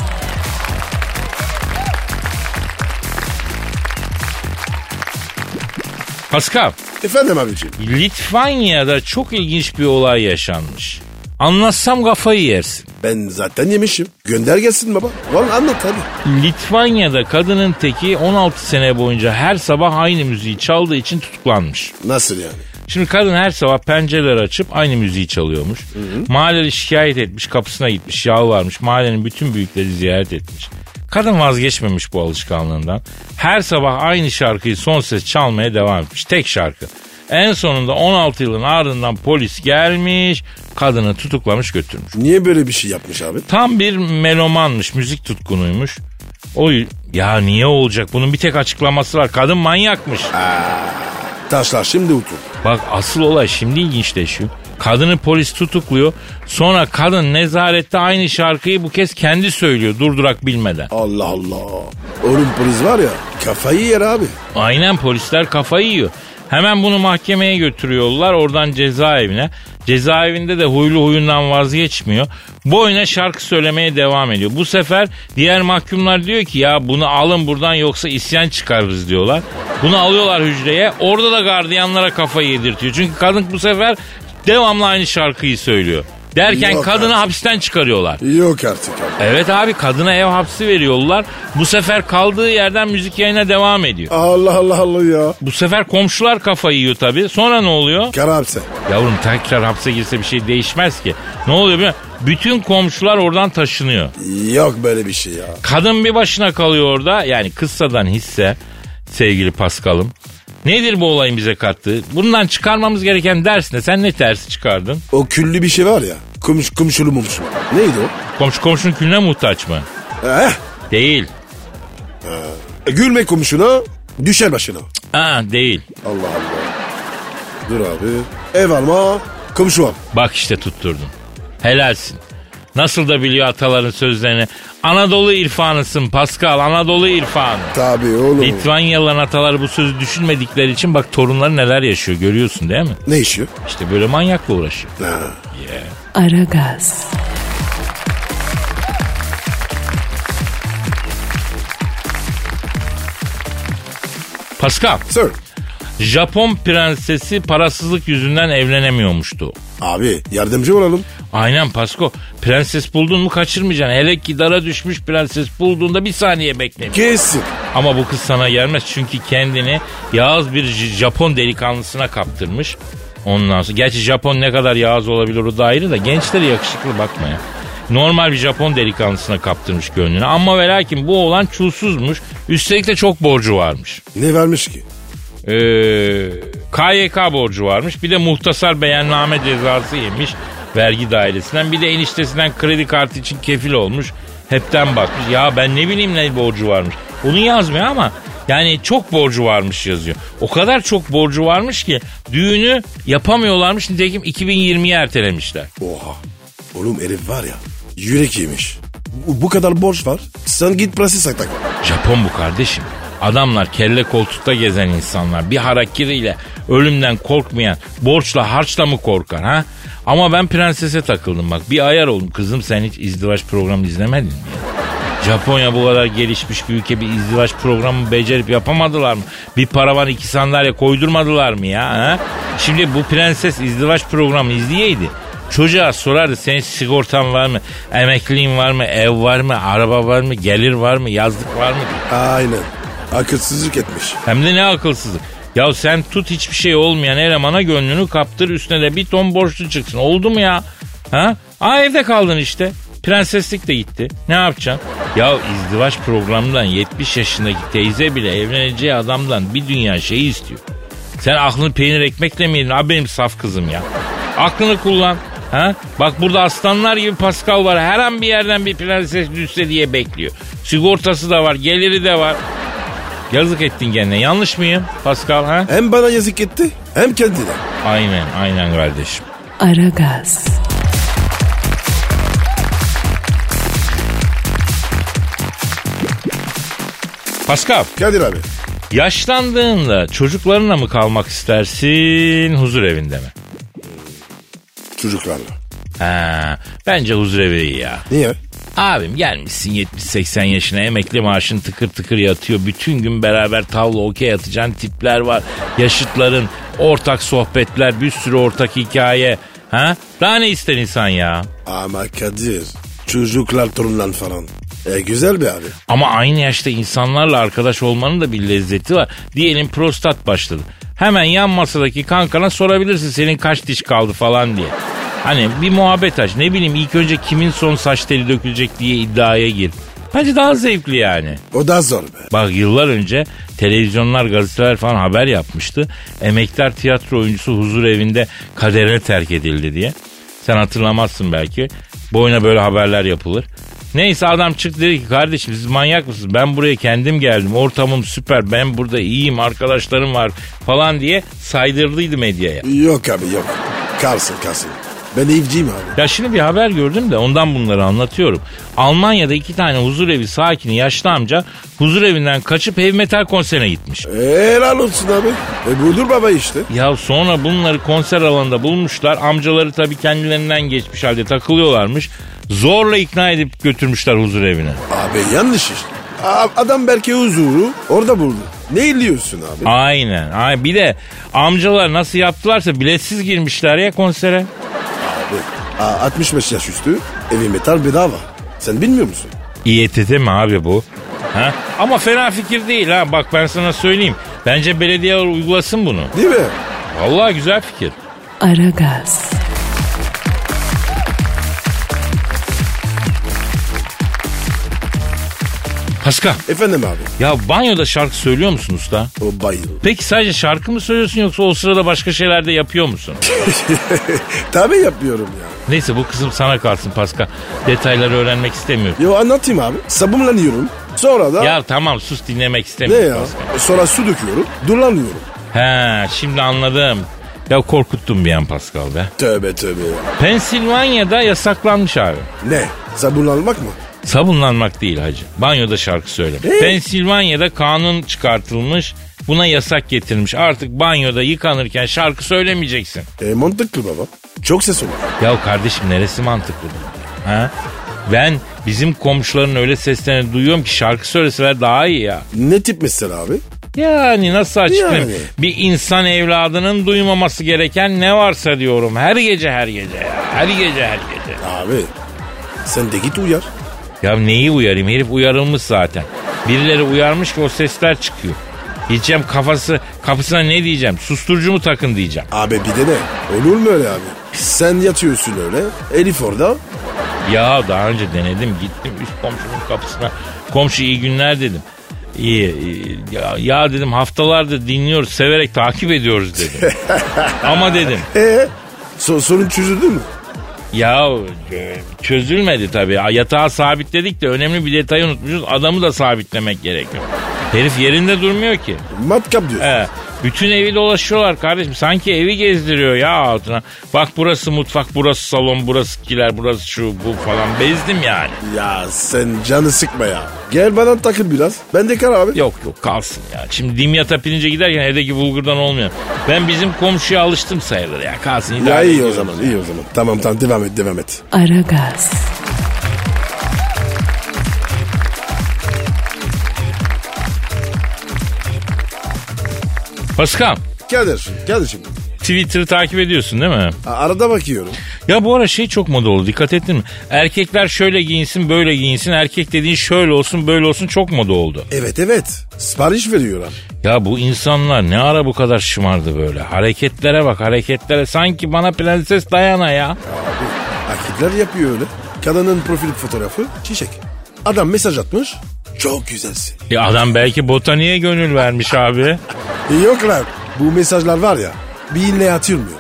S3: Pascal.
S4: Efendim abicim.
S3: Litvanya'da çok ilginç bir olay yaşanmış. Anlatsam kafayı yersin.
S4: Ben zaten yemişim. Gönder gelsin baba. Vallahi anlat hadi.
S3: Litvanya'da kadının teki 16 sene boyunca her sabah aynı müziği çaldığı için tutuklanmış.
S4: Nasıl yani?
S3: Şimdi kadın her sabah pencereleri açıp aynı müziği çalıyormuş. Mahalleli şikayet etmiş, kapısına gitmiş, yalvarmış. Mahallenin bütün büyükleri ziyaret etmiş. Kadın vazgeçmemiş bu alışkanlığından. Her sabah aynı şarkıyı son ses çalmaya devam etmiş. Tek şarkı. En sonunda 16 yılın ardından polis gelmiş, kadını tutuklamış götürmüş.
S4: Niye böyle bir şey yapmış abi?
S3: Tam bir melomanmış, müzik tutkunuymuş. O ya niye olacak? Bunun bir tek açıklaması var. Kadın manyakmış.
S4: Taşlar şimdi otur.
S3: Bak asıl olay şimdi ilginçleşiyor. Kadını polis tutukluyor. Sonra kadın nezarette aynı şarkıyı bu kez kendi söylüyor durdurak bilmeden.
S4: Allah Allah. Oğlum polis var ya kafayı yer abi.
S3: Aynen polisler kafayı yiyor. Hemen bunu mahkemeye götürüyorlar oradan cezaevine. Cezaevinde de huylu huyundan vazgeçmiyor. Boyuna şarkı söylemeye devam ediyor. Bu sefer diğer mahkumlar diyor ki ya bunu alın buradan yoksa isyan çıkarırız diyorlar. Bunu alıyorlar hücreye. Orada da gardiyanlara kafayı yedirtiyor. Çünkü kadın bu sefer devamlı aynı şarkıyı söylüyor. Derken
S4: Yok
S3: kadını
S4: artık.
S3: hapisten çıkarıyorlar.
S4: Yok artık abi.
S3: Evet abi kadına ev hapsi veriyorlar. Bu sefer kaldığı yerden müzik yayına devam ediyor.
S4: Allah Allah Allah ya.
S3: Bu sefer komşular kafayı yiyor tabii. Sonra ne oluyor?
S4: Karabse.
S3: Yavrum tekrar hapse girse bir şey değişmez ki. Ne oluyor biliyor musun? Bütün komşular oradan taşınıyor.
S4: Yok böyle bir şey ya.
S3: Kadın bir başına kalıyor orada. Yani kıssadan hisse sevgili Paskal'ım. Nedir bu olayın bize kattığı? Bundan çıkarmamız gereken ders ne? Sen ne tersi çıkardın?
S4: O küllü bir şey var ya. Kumş, kumşulu mumşu. Neydi o?
S3: Komşu komşunun külüne muhtaç mı?
S4: Heh.
S3: Değil.
S4: e, Gülme kumşuna düşer başına.
S3: Ha değil.
S4: Allah Allah. Dur abi. Ev alma komşu al.
S3: Bak işte tutturdun. Helalsin. Nasıl da biliyor ataların sözlerini. Anadolu irfanısın Pascal. Anadolu irfanı.
S4: Tabii oğlum.
S3: Litvanyalıların ataları bu sözü düşünmedikleri için bak torunları neler yaşıyor görüyorsun değil mi?
S4: Ne işiyor?
S3: İşte böyle manyakla uğraşıyor.
S4: Ha.
S1: Aragaz,
S3: Pascal,
S4: Sir.
S3: Japon prensesi parasızlık yüzünden evlenemiyormuştu.
S4: Abi yardımcı olalım.
S3: Aynen Pasko. Prenses buldun mu kaçırmayacaksın. Hele ki dara düşmüş prenses bulduğunda bir saniye bekle.
S4: Kesin.
S3: Ama bu kız sana gelmez çünkü kendini Yağız bir J- Japon delikanlısına kaptırmış. Ondan sonra gerçi Japon ne kadar Yağız olabilir o da ayrı da gençlere yakışıklı bakma ya. Normal bir Japon delikanlısına kaptırmış gönlünü. Ama ve lakin bu olan çulsuzmuş. Üstelik de çok borcu varmış.
S4: Ne vermiş ki?
S3: Ee, KYK borcu varmış. Bir de muhtasar beyanname cezası yemiş vergi dairesinden. Bir de eniştesinden kredi kartı için kefil olmuş. Hepten bakmış. Ya ben ne bileyim ne borcu varmış. Onu yazmıyor ama yani çok borcu varmış yazıyor. O kadar çok borcu varmış ki düğünü yapamıyorlarmış. Nitekim 2020'ye ertelemişler.
S4: Oha. Oğlum herif var ya yürek yemiş. Bu, bu kadar borç var. Sen git presi sakla.
S3: Japon bu kardeşim. Adamlar kelle koltukta gezen insanlar. Bir harakiriyle ölümden korkmayan borçla harçla mı korkar ha? Ama ben prensese takıldım bak. Bir ayar oldum. Kızım sen hiç izdivaç programı izlemedin mi? Japonya bu kadar gelişmiş bir ülke bir izdivaç programı becerip yapamadılar mı? Bir paravan iki sandalye koydurmadılar mı ya? ha? Şimdi bu prenses izdivaç programı izleyeydi. Çocuğa sorardı senin sigortan var mı? Emekliliğin var mı? Ev var mı? Araba var mı? Gelir var mı? Yazlık var mı? diye.
S4: Aynen. Akılsızlık etmiş.
S3: Hem de ne akılsızlık. Ya sen tut hiçbir şey olmayan elemana gönlünü kaptır üstüne de bir ton borçlu çıksın. Oldu mu ya? Ha? Aa evde kaldın işte. Prenseslik de gitti. Ne yapacaksın? Ya izdivaç programından 70 yaşındaki teyze bile evleneceği adamdan bir dünya şeyi istiyor. Sen aklını peynir ekmekle mi yedin? Abi benim saf kızım ya. Aklını kullan. Ha? Bak burada aslanlar gibi Pascal var. Her an bir yerden bir prenses düşse diye bekliyor. Sigortası da var, geliri de var. Yazık ettin kendine. Yanlış mıyım Pascal ha?
S4: Hem bana yazık etti hem kendine.
S3: Aynen, aynen kardeşim.
S1: Aragaz,
S3: Pascal,
S4: Kadir abi.
S3: yaşlandığında çocuklarınla mı kalmak istersin, huzur evinde mi?
S4: Çocuklarla.
S3: Ha, bence huzur evi iyi ya.
S4: Niye?
S3: Abim gelmişsin 70-80 yaşına emekli maaşın tıkır tıkır yatıyor. Bütün gün beraber tavla okey atacağın tipler var. Yaşıtların, ortak sohbetler, bir sürü ortak hikaye. Ha? Daha ne ister insan ya?
S4: Ama Kadir. Çocuklar torunlar falan. E güzel bir abi.
S3: Ama aynı yaşta insanlarla arkadaş olmanın da bir lezzeti var. Diyelim prostat başladı. Hemen yan masadaki kankana sorabilirsin senin kaç diş kaldı falan diye. Hani bir muhabbet aç. Ne bileyim ilk önce kimin son saç teli dökülecek diye iddiaya gir. Bence daha zevkli yani.
S4: O da zor be.
S3: Bak yıllar önce televizyonlar, gazeteler falan haber yapmıştı. Emektar tiyatro oyuncusu huzur evinde kaderine terk edildi diye. Sen hatırlamazsın belki. Boyuna böyle haberler yapılır. Neyse adam çıktı dedi ki kardeşim siz manyak mısınız? Ben buraya kendim geldim. Ortamım süper. Ben burada iyiyim. Arkadaşlarım var falan diye saydırdıydı medyaya.
S4: Yok abi yok. Kalsın kalsın. Ben evciyim abi.
S3: Ya şimdi bir haber gördüm de ondan bunları anlatıyorum. Almanya'da iki tane huzurevi sakini yaşlı amca huzurevinden kaçıp heavy metal konserine gitmiş.
S4: E, Helal olsun abi. E budur baba işte.
S3: Ya sonra bunları konser alanında bulmuşlar. Amcaları tabii kendilerinden geçmiş halde takılıyorlarmış. Zorla ikna edip götürmüşler huzur evine.
S4: Abi yanlış işte. A- adam belki huzuru orada buldu. Ne iliyorsun abi?
S3: Aynen. Ay bir de amcalar nasıl yaptılarsa biletsiz girmişler ya konsere.
S4: abi. A- 65 yaş üstü evi metal bedava. Sen bilmiyor musun?
S3: İETT mi abi bu? Ha? Ama fena fikir değil ha. Bak ben sana söyleyeyim. Bence belediyeler uygulasın bunu.
S4: Değil mi?
S3: Vallahi güzel fikir.
S1: Aragaz,
S3: Paska.
S4: Efendim abi.
S3: Ya banyoda şarkı söylüyor musun usta?
S4: O bayıl. <laughs>
S3: Peki sadece şarkı mı söylüyorsun yoksa o sırada başka şeyler de yapıyor musun?
S4: Tabii yapıyorum ya.
S3: Neyse bu kızım sana kalsın Paska. Detayları öğrenmek istemiyorum.
S4: Yo anlatayım abi. Sabunlanıyorum. Sonra da
S3: Ya tamam sus dinlemek
S4: ne
S3: istemiyorum
S4: ya?
S3: Pascal.
S4: Sonra su döküyorum. Durlanıyorum.
S3: He şimdi anladım. Ya korkuttum bir an Pascal be.
S4: Tövbe tövbe ya.
S3: Pensilvanya'da yasaklanmış abi.
S4: Ne? Sabunlanmak mı?
S3: Sabunlanmak değil hacı. Banyoda şarkı söyle. Pensilvanya'da kanun çıkartılmış. Buna yasak getirmiş. Artık banyoda yıkanırken şarkı söylemeyeceksin.
S4: E mantıklı baba. Çok ses olur.
S3: Ya kardeşim neresi mantıklı bunun? Ha? Ben bizim komşuların öyle seslerini duyuyorum ki şarkı söyleseler daha iyi ya.
S4: Ne tip mesela abi?
S3: Yani nasıl açıklayayım?
S4: Yani.
S3: Bir insan evladının duymaması gereken ne varsa diyorum. Her gece her gece ya. Her gece her gece.
S4: Abi sen de git uyar.
S3: Ya neyi uyarayım? Herif uyarılmış zaten. Birileri uyarmış ki o sesler çıkıyor. Gideceğim kafası kapısına ne diyeceğim? Susturucu mu takın diyeceğim.
S4: Abi bir de ne? Olur mu öyle abi? Sen yatıyorsun öyle. Elif orada.
S3: Ya daha önce denedim gittim üst komşunun kapısına. Komşu iyi günler dedim. İyi, iyi. Ya, ya dedim haftalardır dinliyoruz severek takip ediyoruz dedim. Ama dedim
S4: E so- sorun çözüldü mü?
S3: Ya e, çözülmedi tabii. A, Yatağı sabitledik de önemli bir detayı unutmuşuz. Adamı da sabitlemek gerekiyor. Herif yerinde durmuyor ki.
S4: Matkap diyor.
S3: He. Bütün evi dolaşıyorlar kardeşim. Sanki evi gezdiriyor ya altına. Bak burası mutfak, burası salon, burası kiler, burası şu bu falan. Bezdim yani.
S4: Ya sen canı sıkma ya. Gel bana takıl biraz. Ben de kar abi.
S3: Yok yok kalsın ya. Şimdi dimyata pirince giderken evdeki bulgurdan olmuyor. Ben bizim komşuya alıştım sayılır ya. Kalsın
S4: Ya
S3: idare
S4: iyi o
S3: ediyoruz
S4: zaman iyi o zaman. Tamam tamam devam et devam et.
S1: Aragaz,
S3: Paskal
S4: Kadir Kadir'cim
S3: Twitter'ı takip ediyorsun değil mi?
S4: a- arada bakıyorum.
S3: Ya bu ara şey çok moda oldu dikkat ettin mi? Erkekler şöyle giyinsin böyle giyinsin. Erkek dediğin şöyle olsun böyle olsun çok moda oldu.
S4: Evet evet sipariş veriyorlar.
S3: Ya bu insanlar ne ara bu kadar şımardı böyle? Hareketlere bak hareketlere. Sanki bana prenses Diana ya.
S4: Erkekler yapıyor öyle. Kadının profil fotoğrafı çiçek. Adam mesaj atmış. Çok güzelsin.
S3: Ya adam belki botaniğe gönül vermiş abi.
S4: Yok lan bu mesajlar var ya bir atılmıyor.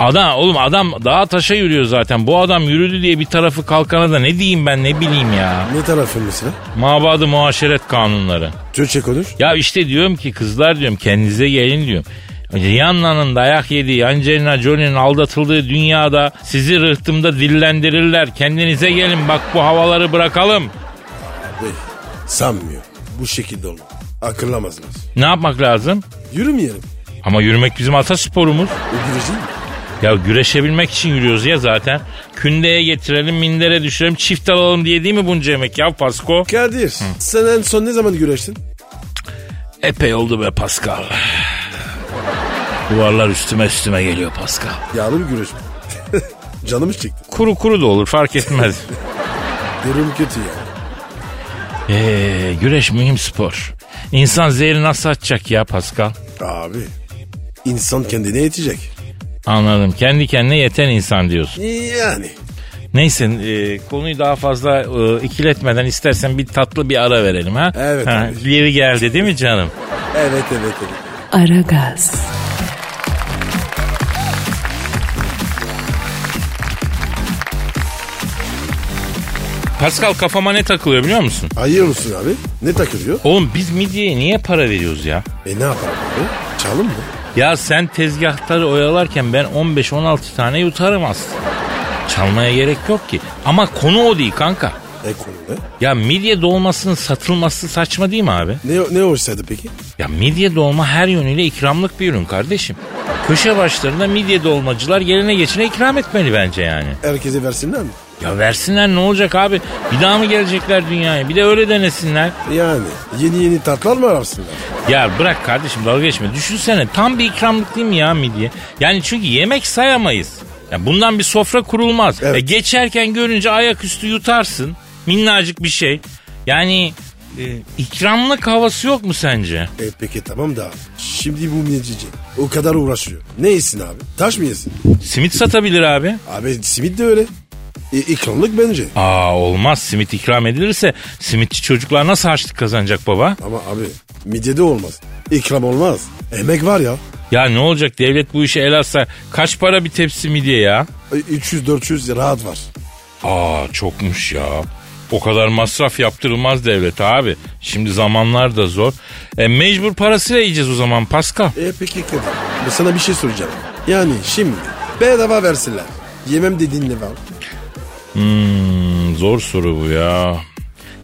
S3: Adam oğlum adam daha taşa yürüyor zaten. Bu adam yürüdü diye bir tarafı kalkana da ne diyeyim ben ne bileyim ya.
S4: Ne tarafın mesela?
S3: Mabadı muaşeret kanunları.
S4: Türkçe konuş.
S3: Ya işte diyorum ki kızlar diyorum kendinize gelin diyorum. Rihanna'nın dayak yediği, Angelina Jolie'nin aldatıldığı dünyada sizi rıhtımda dillendirirler. Kendinize gelin bak bu havaları bırakalım.
S4: Değil. Sanmıyor. Bu şekilde olur. Akıllamazlar.
S3: Ne yapmak lazım?
S4: Yürümeyelim.
S3: Ama yürümek bizim atasporumuz.
S4: O güreş değil mi?
S3: Ya güreşebilmek için yürüyoruz ya zaten. Kündeye getirelim, mindere düşürelim, çift alalım diye değil mi bunca yemek ya Pasko?
S4: Kadir sen en son ne zaman güreştin?
S3: Epey oldu be Pascal. Duvarlar üstüme üstüme geliyor Pascal.
S4: Yağlı bir güreş mi? <laughs> Canımız çekti.
S3: Kuru kuru da olur fark etmez.
S4: Durum kötü ya.
S3: Ee, güreş mühim spor. İnsan zehri nasıl atacak ya Pascal?
S4: Abi insan kendine yetecek.
S3: Anladım. Kendi kendine yeten insan diyorsun.
S4: Yani.
S3: Neyse e, konuyu daha fazla e, ikiletmeden istersen bir tatlı bir ara verelim ha.
S4: Evet,
S3: Ha,
S4: evet.
S3: Yeri geldi değil mi canım?
S4: Evet evet evet.
S1: Aragaz,
S3: Pascal kafama ne takılıyor biliyor musun?
S4: Hayır musun abi? Ne takılıyor?
S3: Oğlum biz midyeye niye para veriyoruz ya?
S4: E ne yapalım abi? Çalın mı?
S3: Ya sen tezgahları oyalarken ben 15-16 tane yutarım aslında. Çalmaya gerek yok ki. Ama konu o değil kanka.
S4: E konu ne?
S3: Ya midye dolmasının satılması saçma değil mi abi?
S4: Ne, ne olsaydı peki?
S3: Ya midye dolma her yönüyle ikramlık bir ürün kardeşim. Köşe başlarında midye dolmacılar gelene geçine ikram etmeli bence yani.
S4: Herkese versinler mi?
S3: Ya versinler ne olacak abi? Bir daha mı gelecekler dünyaya? Bir de öyle denesinler.
S4: Yani yeni yeni tatlar mı ararsınlar?
S3: Ya bırak kardeşim dalga geçme. Düşünsene tam bir ikramlık değil mi ya midye? Yani çünkü yemek sayamayız. Ya bundan bir sofra kurulmaz.
S4: Evet.
S3: E geçerken görünce ayaküstü yutarsın. Minnacık bir şey. Yani e, ikramlık havası yok mu sence?
S4: E peki tamam da şimdi bu mincici o kadar uğraşıyor. Ne yesin abi? Taş mı yesin?
S3: Simit satabilir abi.
S4: Abi simit de öyle. E, ikramlık bence.
S3: Aa olmaz simit ikram edilirse simitçi çocuklar nasıl harçlık kazanacak baba?
S4: Ama abi midyede olmaz. İkram olmaz. Emek var ya.
S3: Ya ne olacak devlet bu işe el atsa kaç para bir tepsi midye ya?
S4: E, 300-400 rahat var.
S3: Aa çokmuş ya. O kadar masraf yaptırılmaz devlet abi. Şimdi zamanlar da zor. E, mecbur parasıyla yiyeceğiz o zaman Pascal.
S4: E peki Kadir. Ben sana bir şey soracağım. Yani şimdi bedava versinler. Yemem dediğin ne var?
S3: Hmm, zor soru bu ya.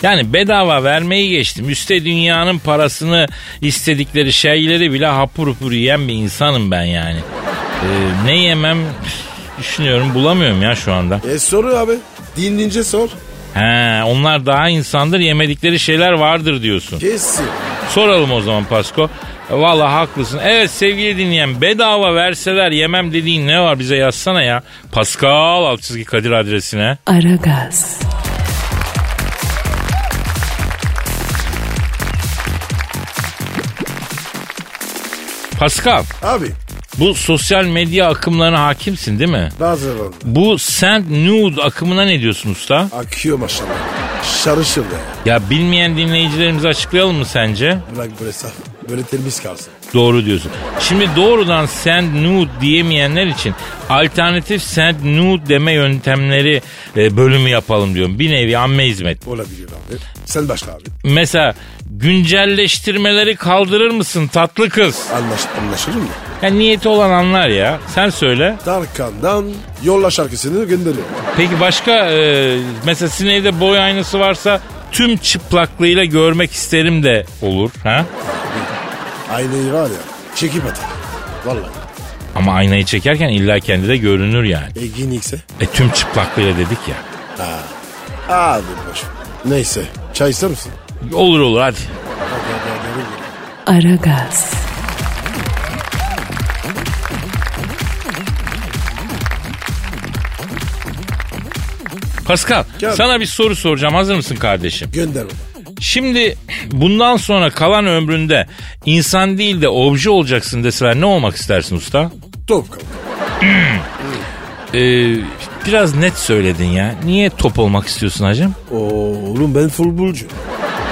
S3: Yani bedava vermeyi geçtim. Üste dünyanın parasını istedikleri şeyleri bile hapur hapur yiyen bir insanım ben yani. Ee, ne yemem düşünüyorum bulamıyorum ya şu anda.
S4: E soru abi. Dinlince sor.
S3: He, onlar daha insandır yemedikleri şeyler vardır diyorsun.
S4: Kesin.
S3: Soralım o zaman Pasko. E, Valla haklısın. Evet sevgili dinleyen bedava verseler yemem dediğin ne var bize yazsana ya. Pascal alt çizgi Kadir adresine.
S1: Aragaz,
S3: Pascal
S4: Abi
S3: bu sosyal medya akımlarına hakimsin değil mi?
S4: bazı var.
S3: Bu send nude akımına ne diyorsun usta?
S4: Akıyor maşallah. Şarışır be.
S3: Ya bilmeyen dinleyicilerimize açıklayalım mı sence?
S4: Bırak böyle saf. Böyle terbis kalsın.
S3: Doğru diyorsun. Şimdi doğrudan send nude diyemeyenler için alternatif send nude deme yöntemleri e, bölümü yapalım diyorum. Bir nevi amme hizmet.
S4: Olabilir abi. Sen başka abi.
S3: Mesela güncelleştirmeleri kaldırır mısın tatlı kız?
S4: Anlaş, anlaşılır mı?
S3: Ya niyeti olan anlar ya. Sen söyle.
S4: Tarkan'dan Yolla şarkısını gönderiyorum.
S3: Peki başka e, mesela sizin evde boy aynası varsa tüm çıplaklığıyla görmek isterim de olur. Ha?
S4: Aynayı var ya çekip atar. Vallahi.
S3: Ama aynayı çekerken illa kendi de görünür yani.
S4: E giyinikse?
S3: E tüm çıplaklığıyla dedik ya.
S4: Abi boş. ver. Neyse. Çay ister misin?
S3: Olur olur hadi.
S1: Aragaz,
S3: Pascal
S4: Gel.
S3: sana bir soru soracağım hazır mısın kardeşim?
S4: Gönder baba.
S3: Şimdi bundan sonra kalan ömründe insan değil de obje olacaksın deseler ne olmak istersin usta?
S4: Top kalk.
S3: Ee, biraz net söyledin ya. Niye top olmak istiyorsun hacım?
S4: Oğlum ben futbolcu.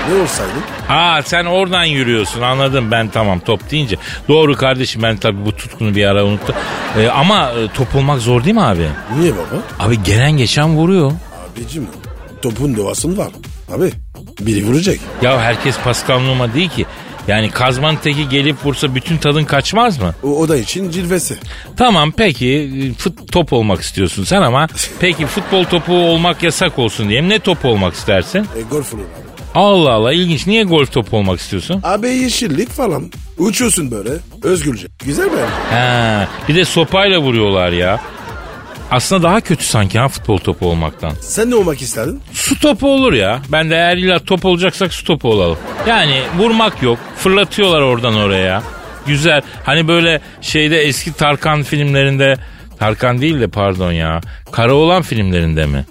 S4: Ne olsaydım?
S3: Ha sen oradan yürüyorsun anladım ben tamam top deyince. Doğru kardeşim ben tabii bu tutkunu bir ara unuttum. Ee, ama e, top olmak zor değil mi abi?
S4: Niye baba?
S3: Abi gelen geçen vuruyor.
S4: Abicim topun doğasın var. Abi biri vuracak.
S3: Ya herkes Pascal Numa değil ki. Yani kazmanın teki gelip vursa bütün tadın kaçmaz mı?
S4: O, o da için cilvesi.
S3: Tamam peki e, fut top olmak istiyorsun sen ama peki futbol topu olmak yasak olsun diyelim. Ne top olmak istersin?
S4: E, golf olur abi.
S3: Allah Allah ilginç. Niye golf topu olmak istiyorsun?
S4: Abi yeşillik falan. Uçuyorsun böyle. Özgürce. Güzel mi?
S3: He, bir de sopayla vuruyorlar ya. Aslında daha kötü sanki ha futbol topu olmaktan.
S4: Sen ne olmak isterdin?
S3: Su topu olur ya. Ben de eğer illa top olacaksak su topu olalım. Yani vurmak yok. Fırlatıyorlar oradan oraya. Güzel. Hani böyle şeyde eski Tarkan filmlerinde Tarkan değil de pardon ya. Karaoğlan filmlerinde mi?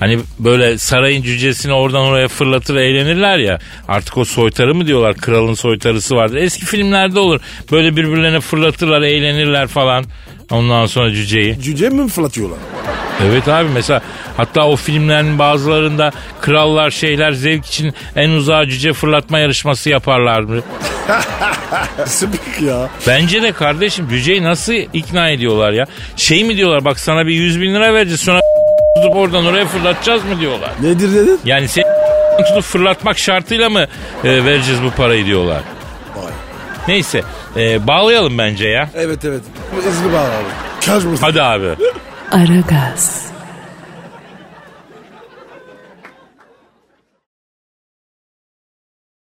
S3: Hani böyle sarayın cücesini oradan oraya fırlatır eğlenirler ya. Artık o soytarı mı diyorlar? Kralın soytarısı vardır. Eski filmlerde olur. Böyle birbirlerine fırlatırlar, eğlenirler falan. Ondan sonra cüceyi.
S4: Cüce mi <laughs> fırlatıyorlar?
S3: Evet abi mesela hatta o filmlerin bazılarında krallar şeyler zevk için en uzağa cüce fırlatma yarışması yaparlar mı?
S4: Sıpık ya.
S3: Bence de kardeşim cüceyi nasıl ikna ediyorlar ya? Şey mi diyorlar bak sana bir 100 bin lira vereceğiz sonra tutup oradan oraya fırlatacağız mı diyorlar.
S4: Nedir dedin?
S3: Yani sen tutup fırlatmak şartıyla mı e, vereceğiz bu parayı diyorlar.
S4: Vay.
S3: Neyse e, bağlayalım bence ya.
S4: Evet evet. İzni bağlı abi. Kaç bu?
S3: Hadi abi.
S1: Aragaz.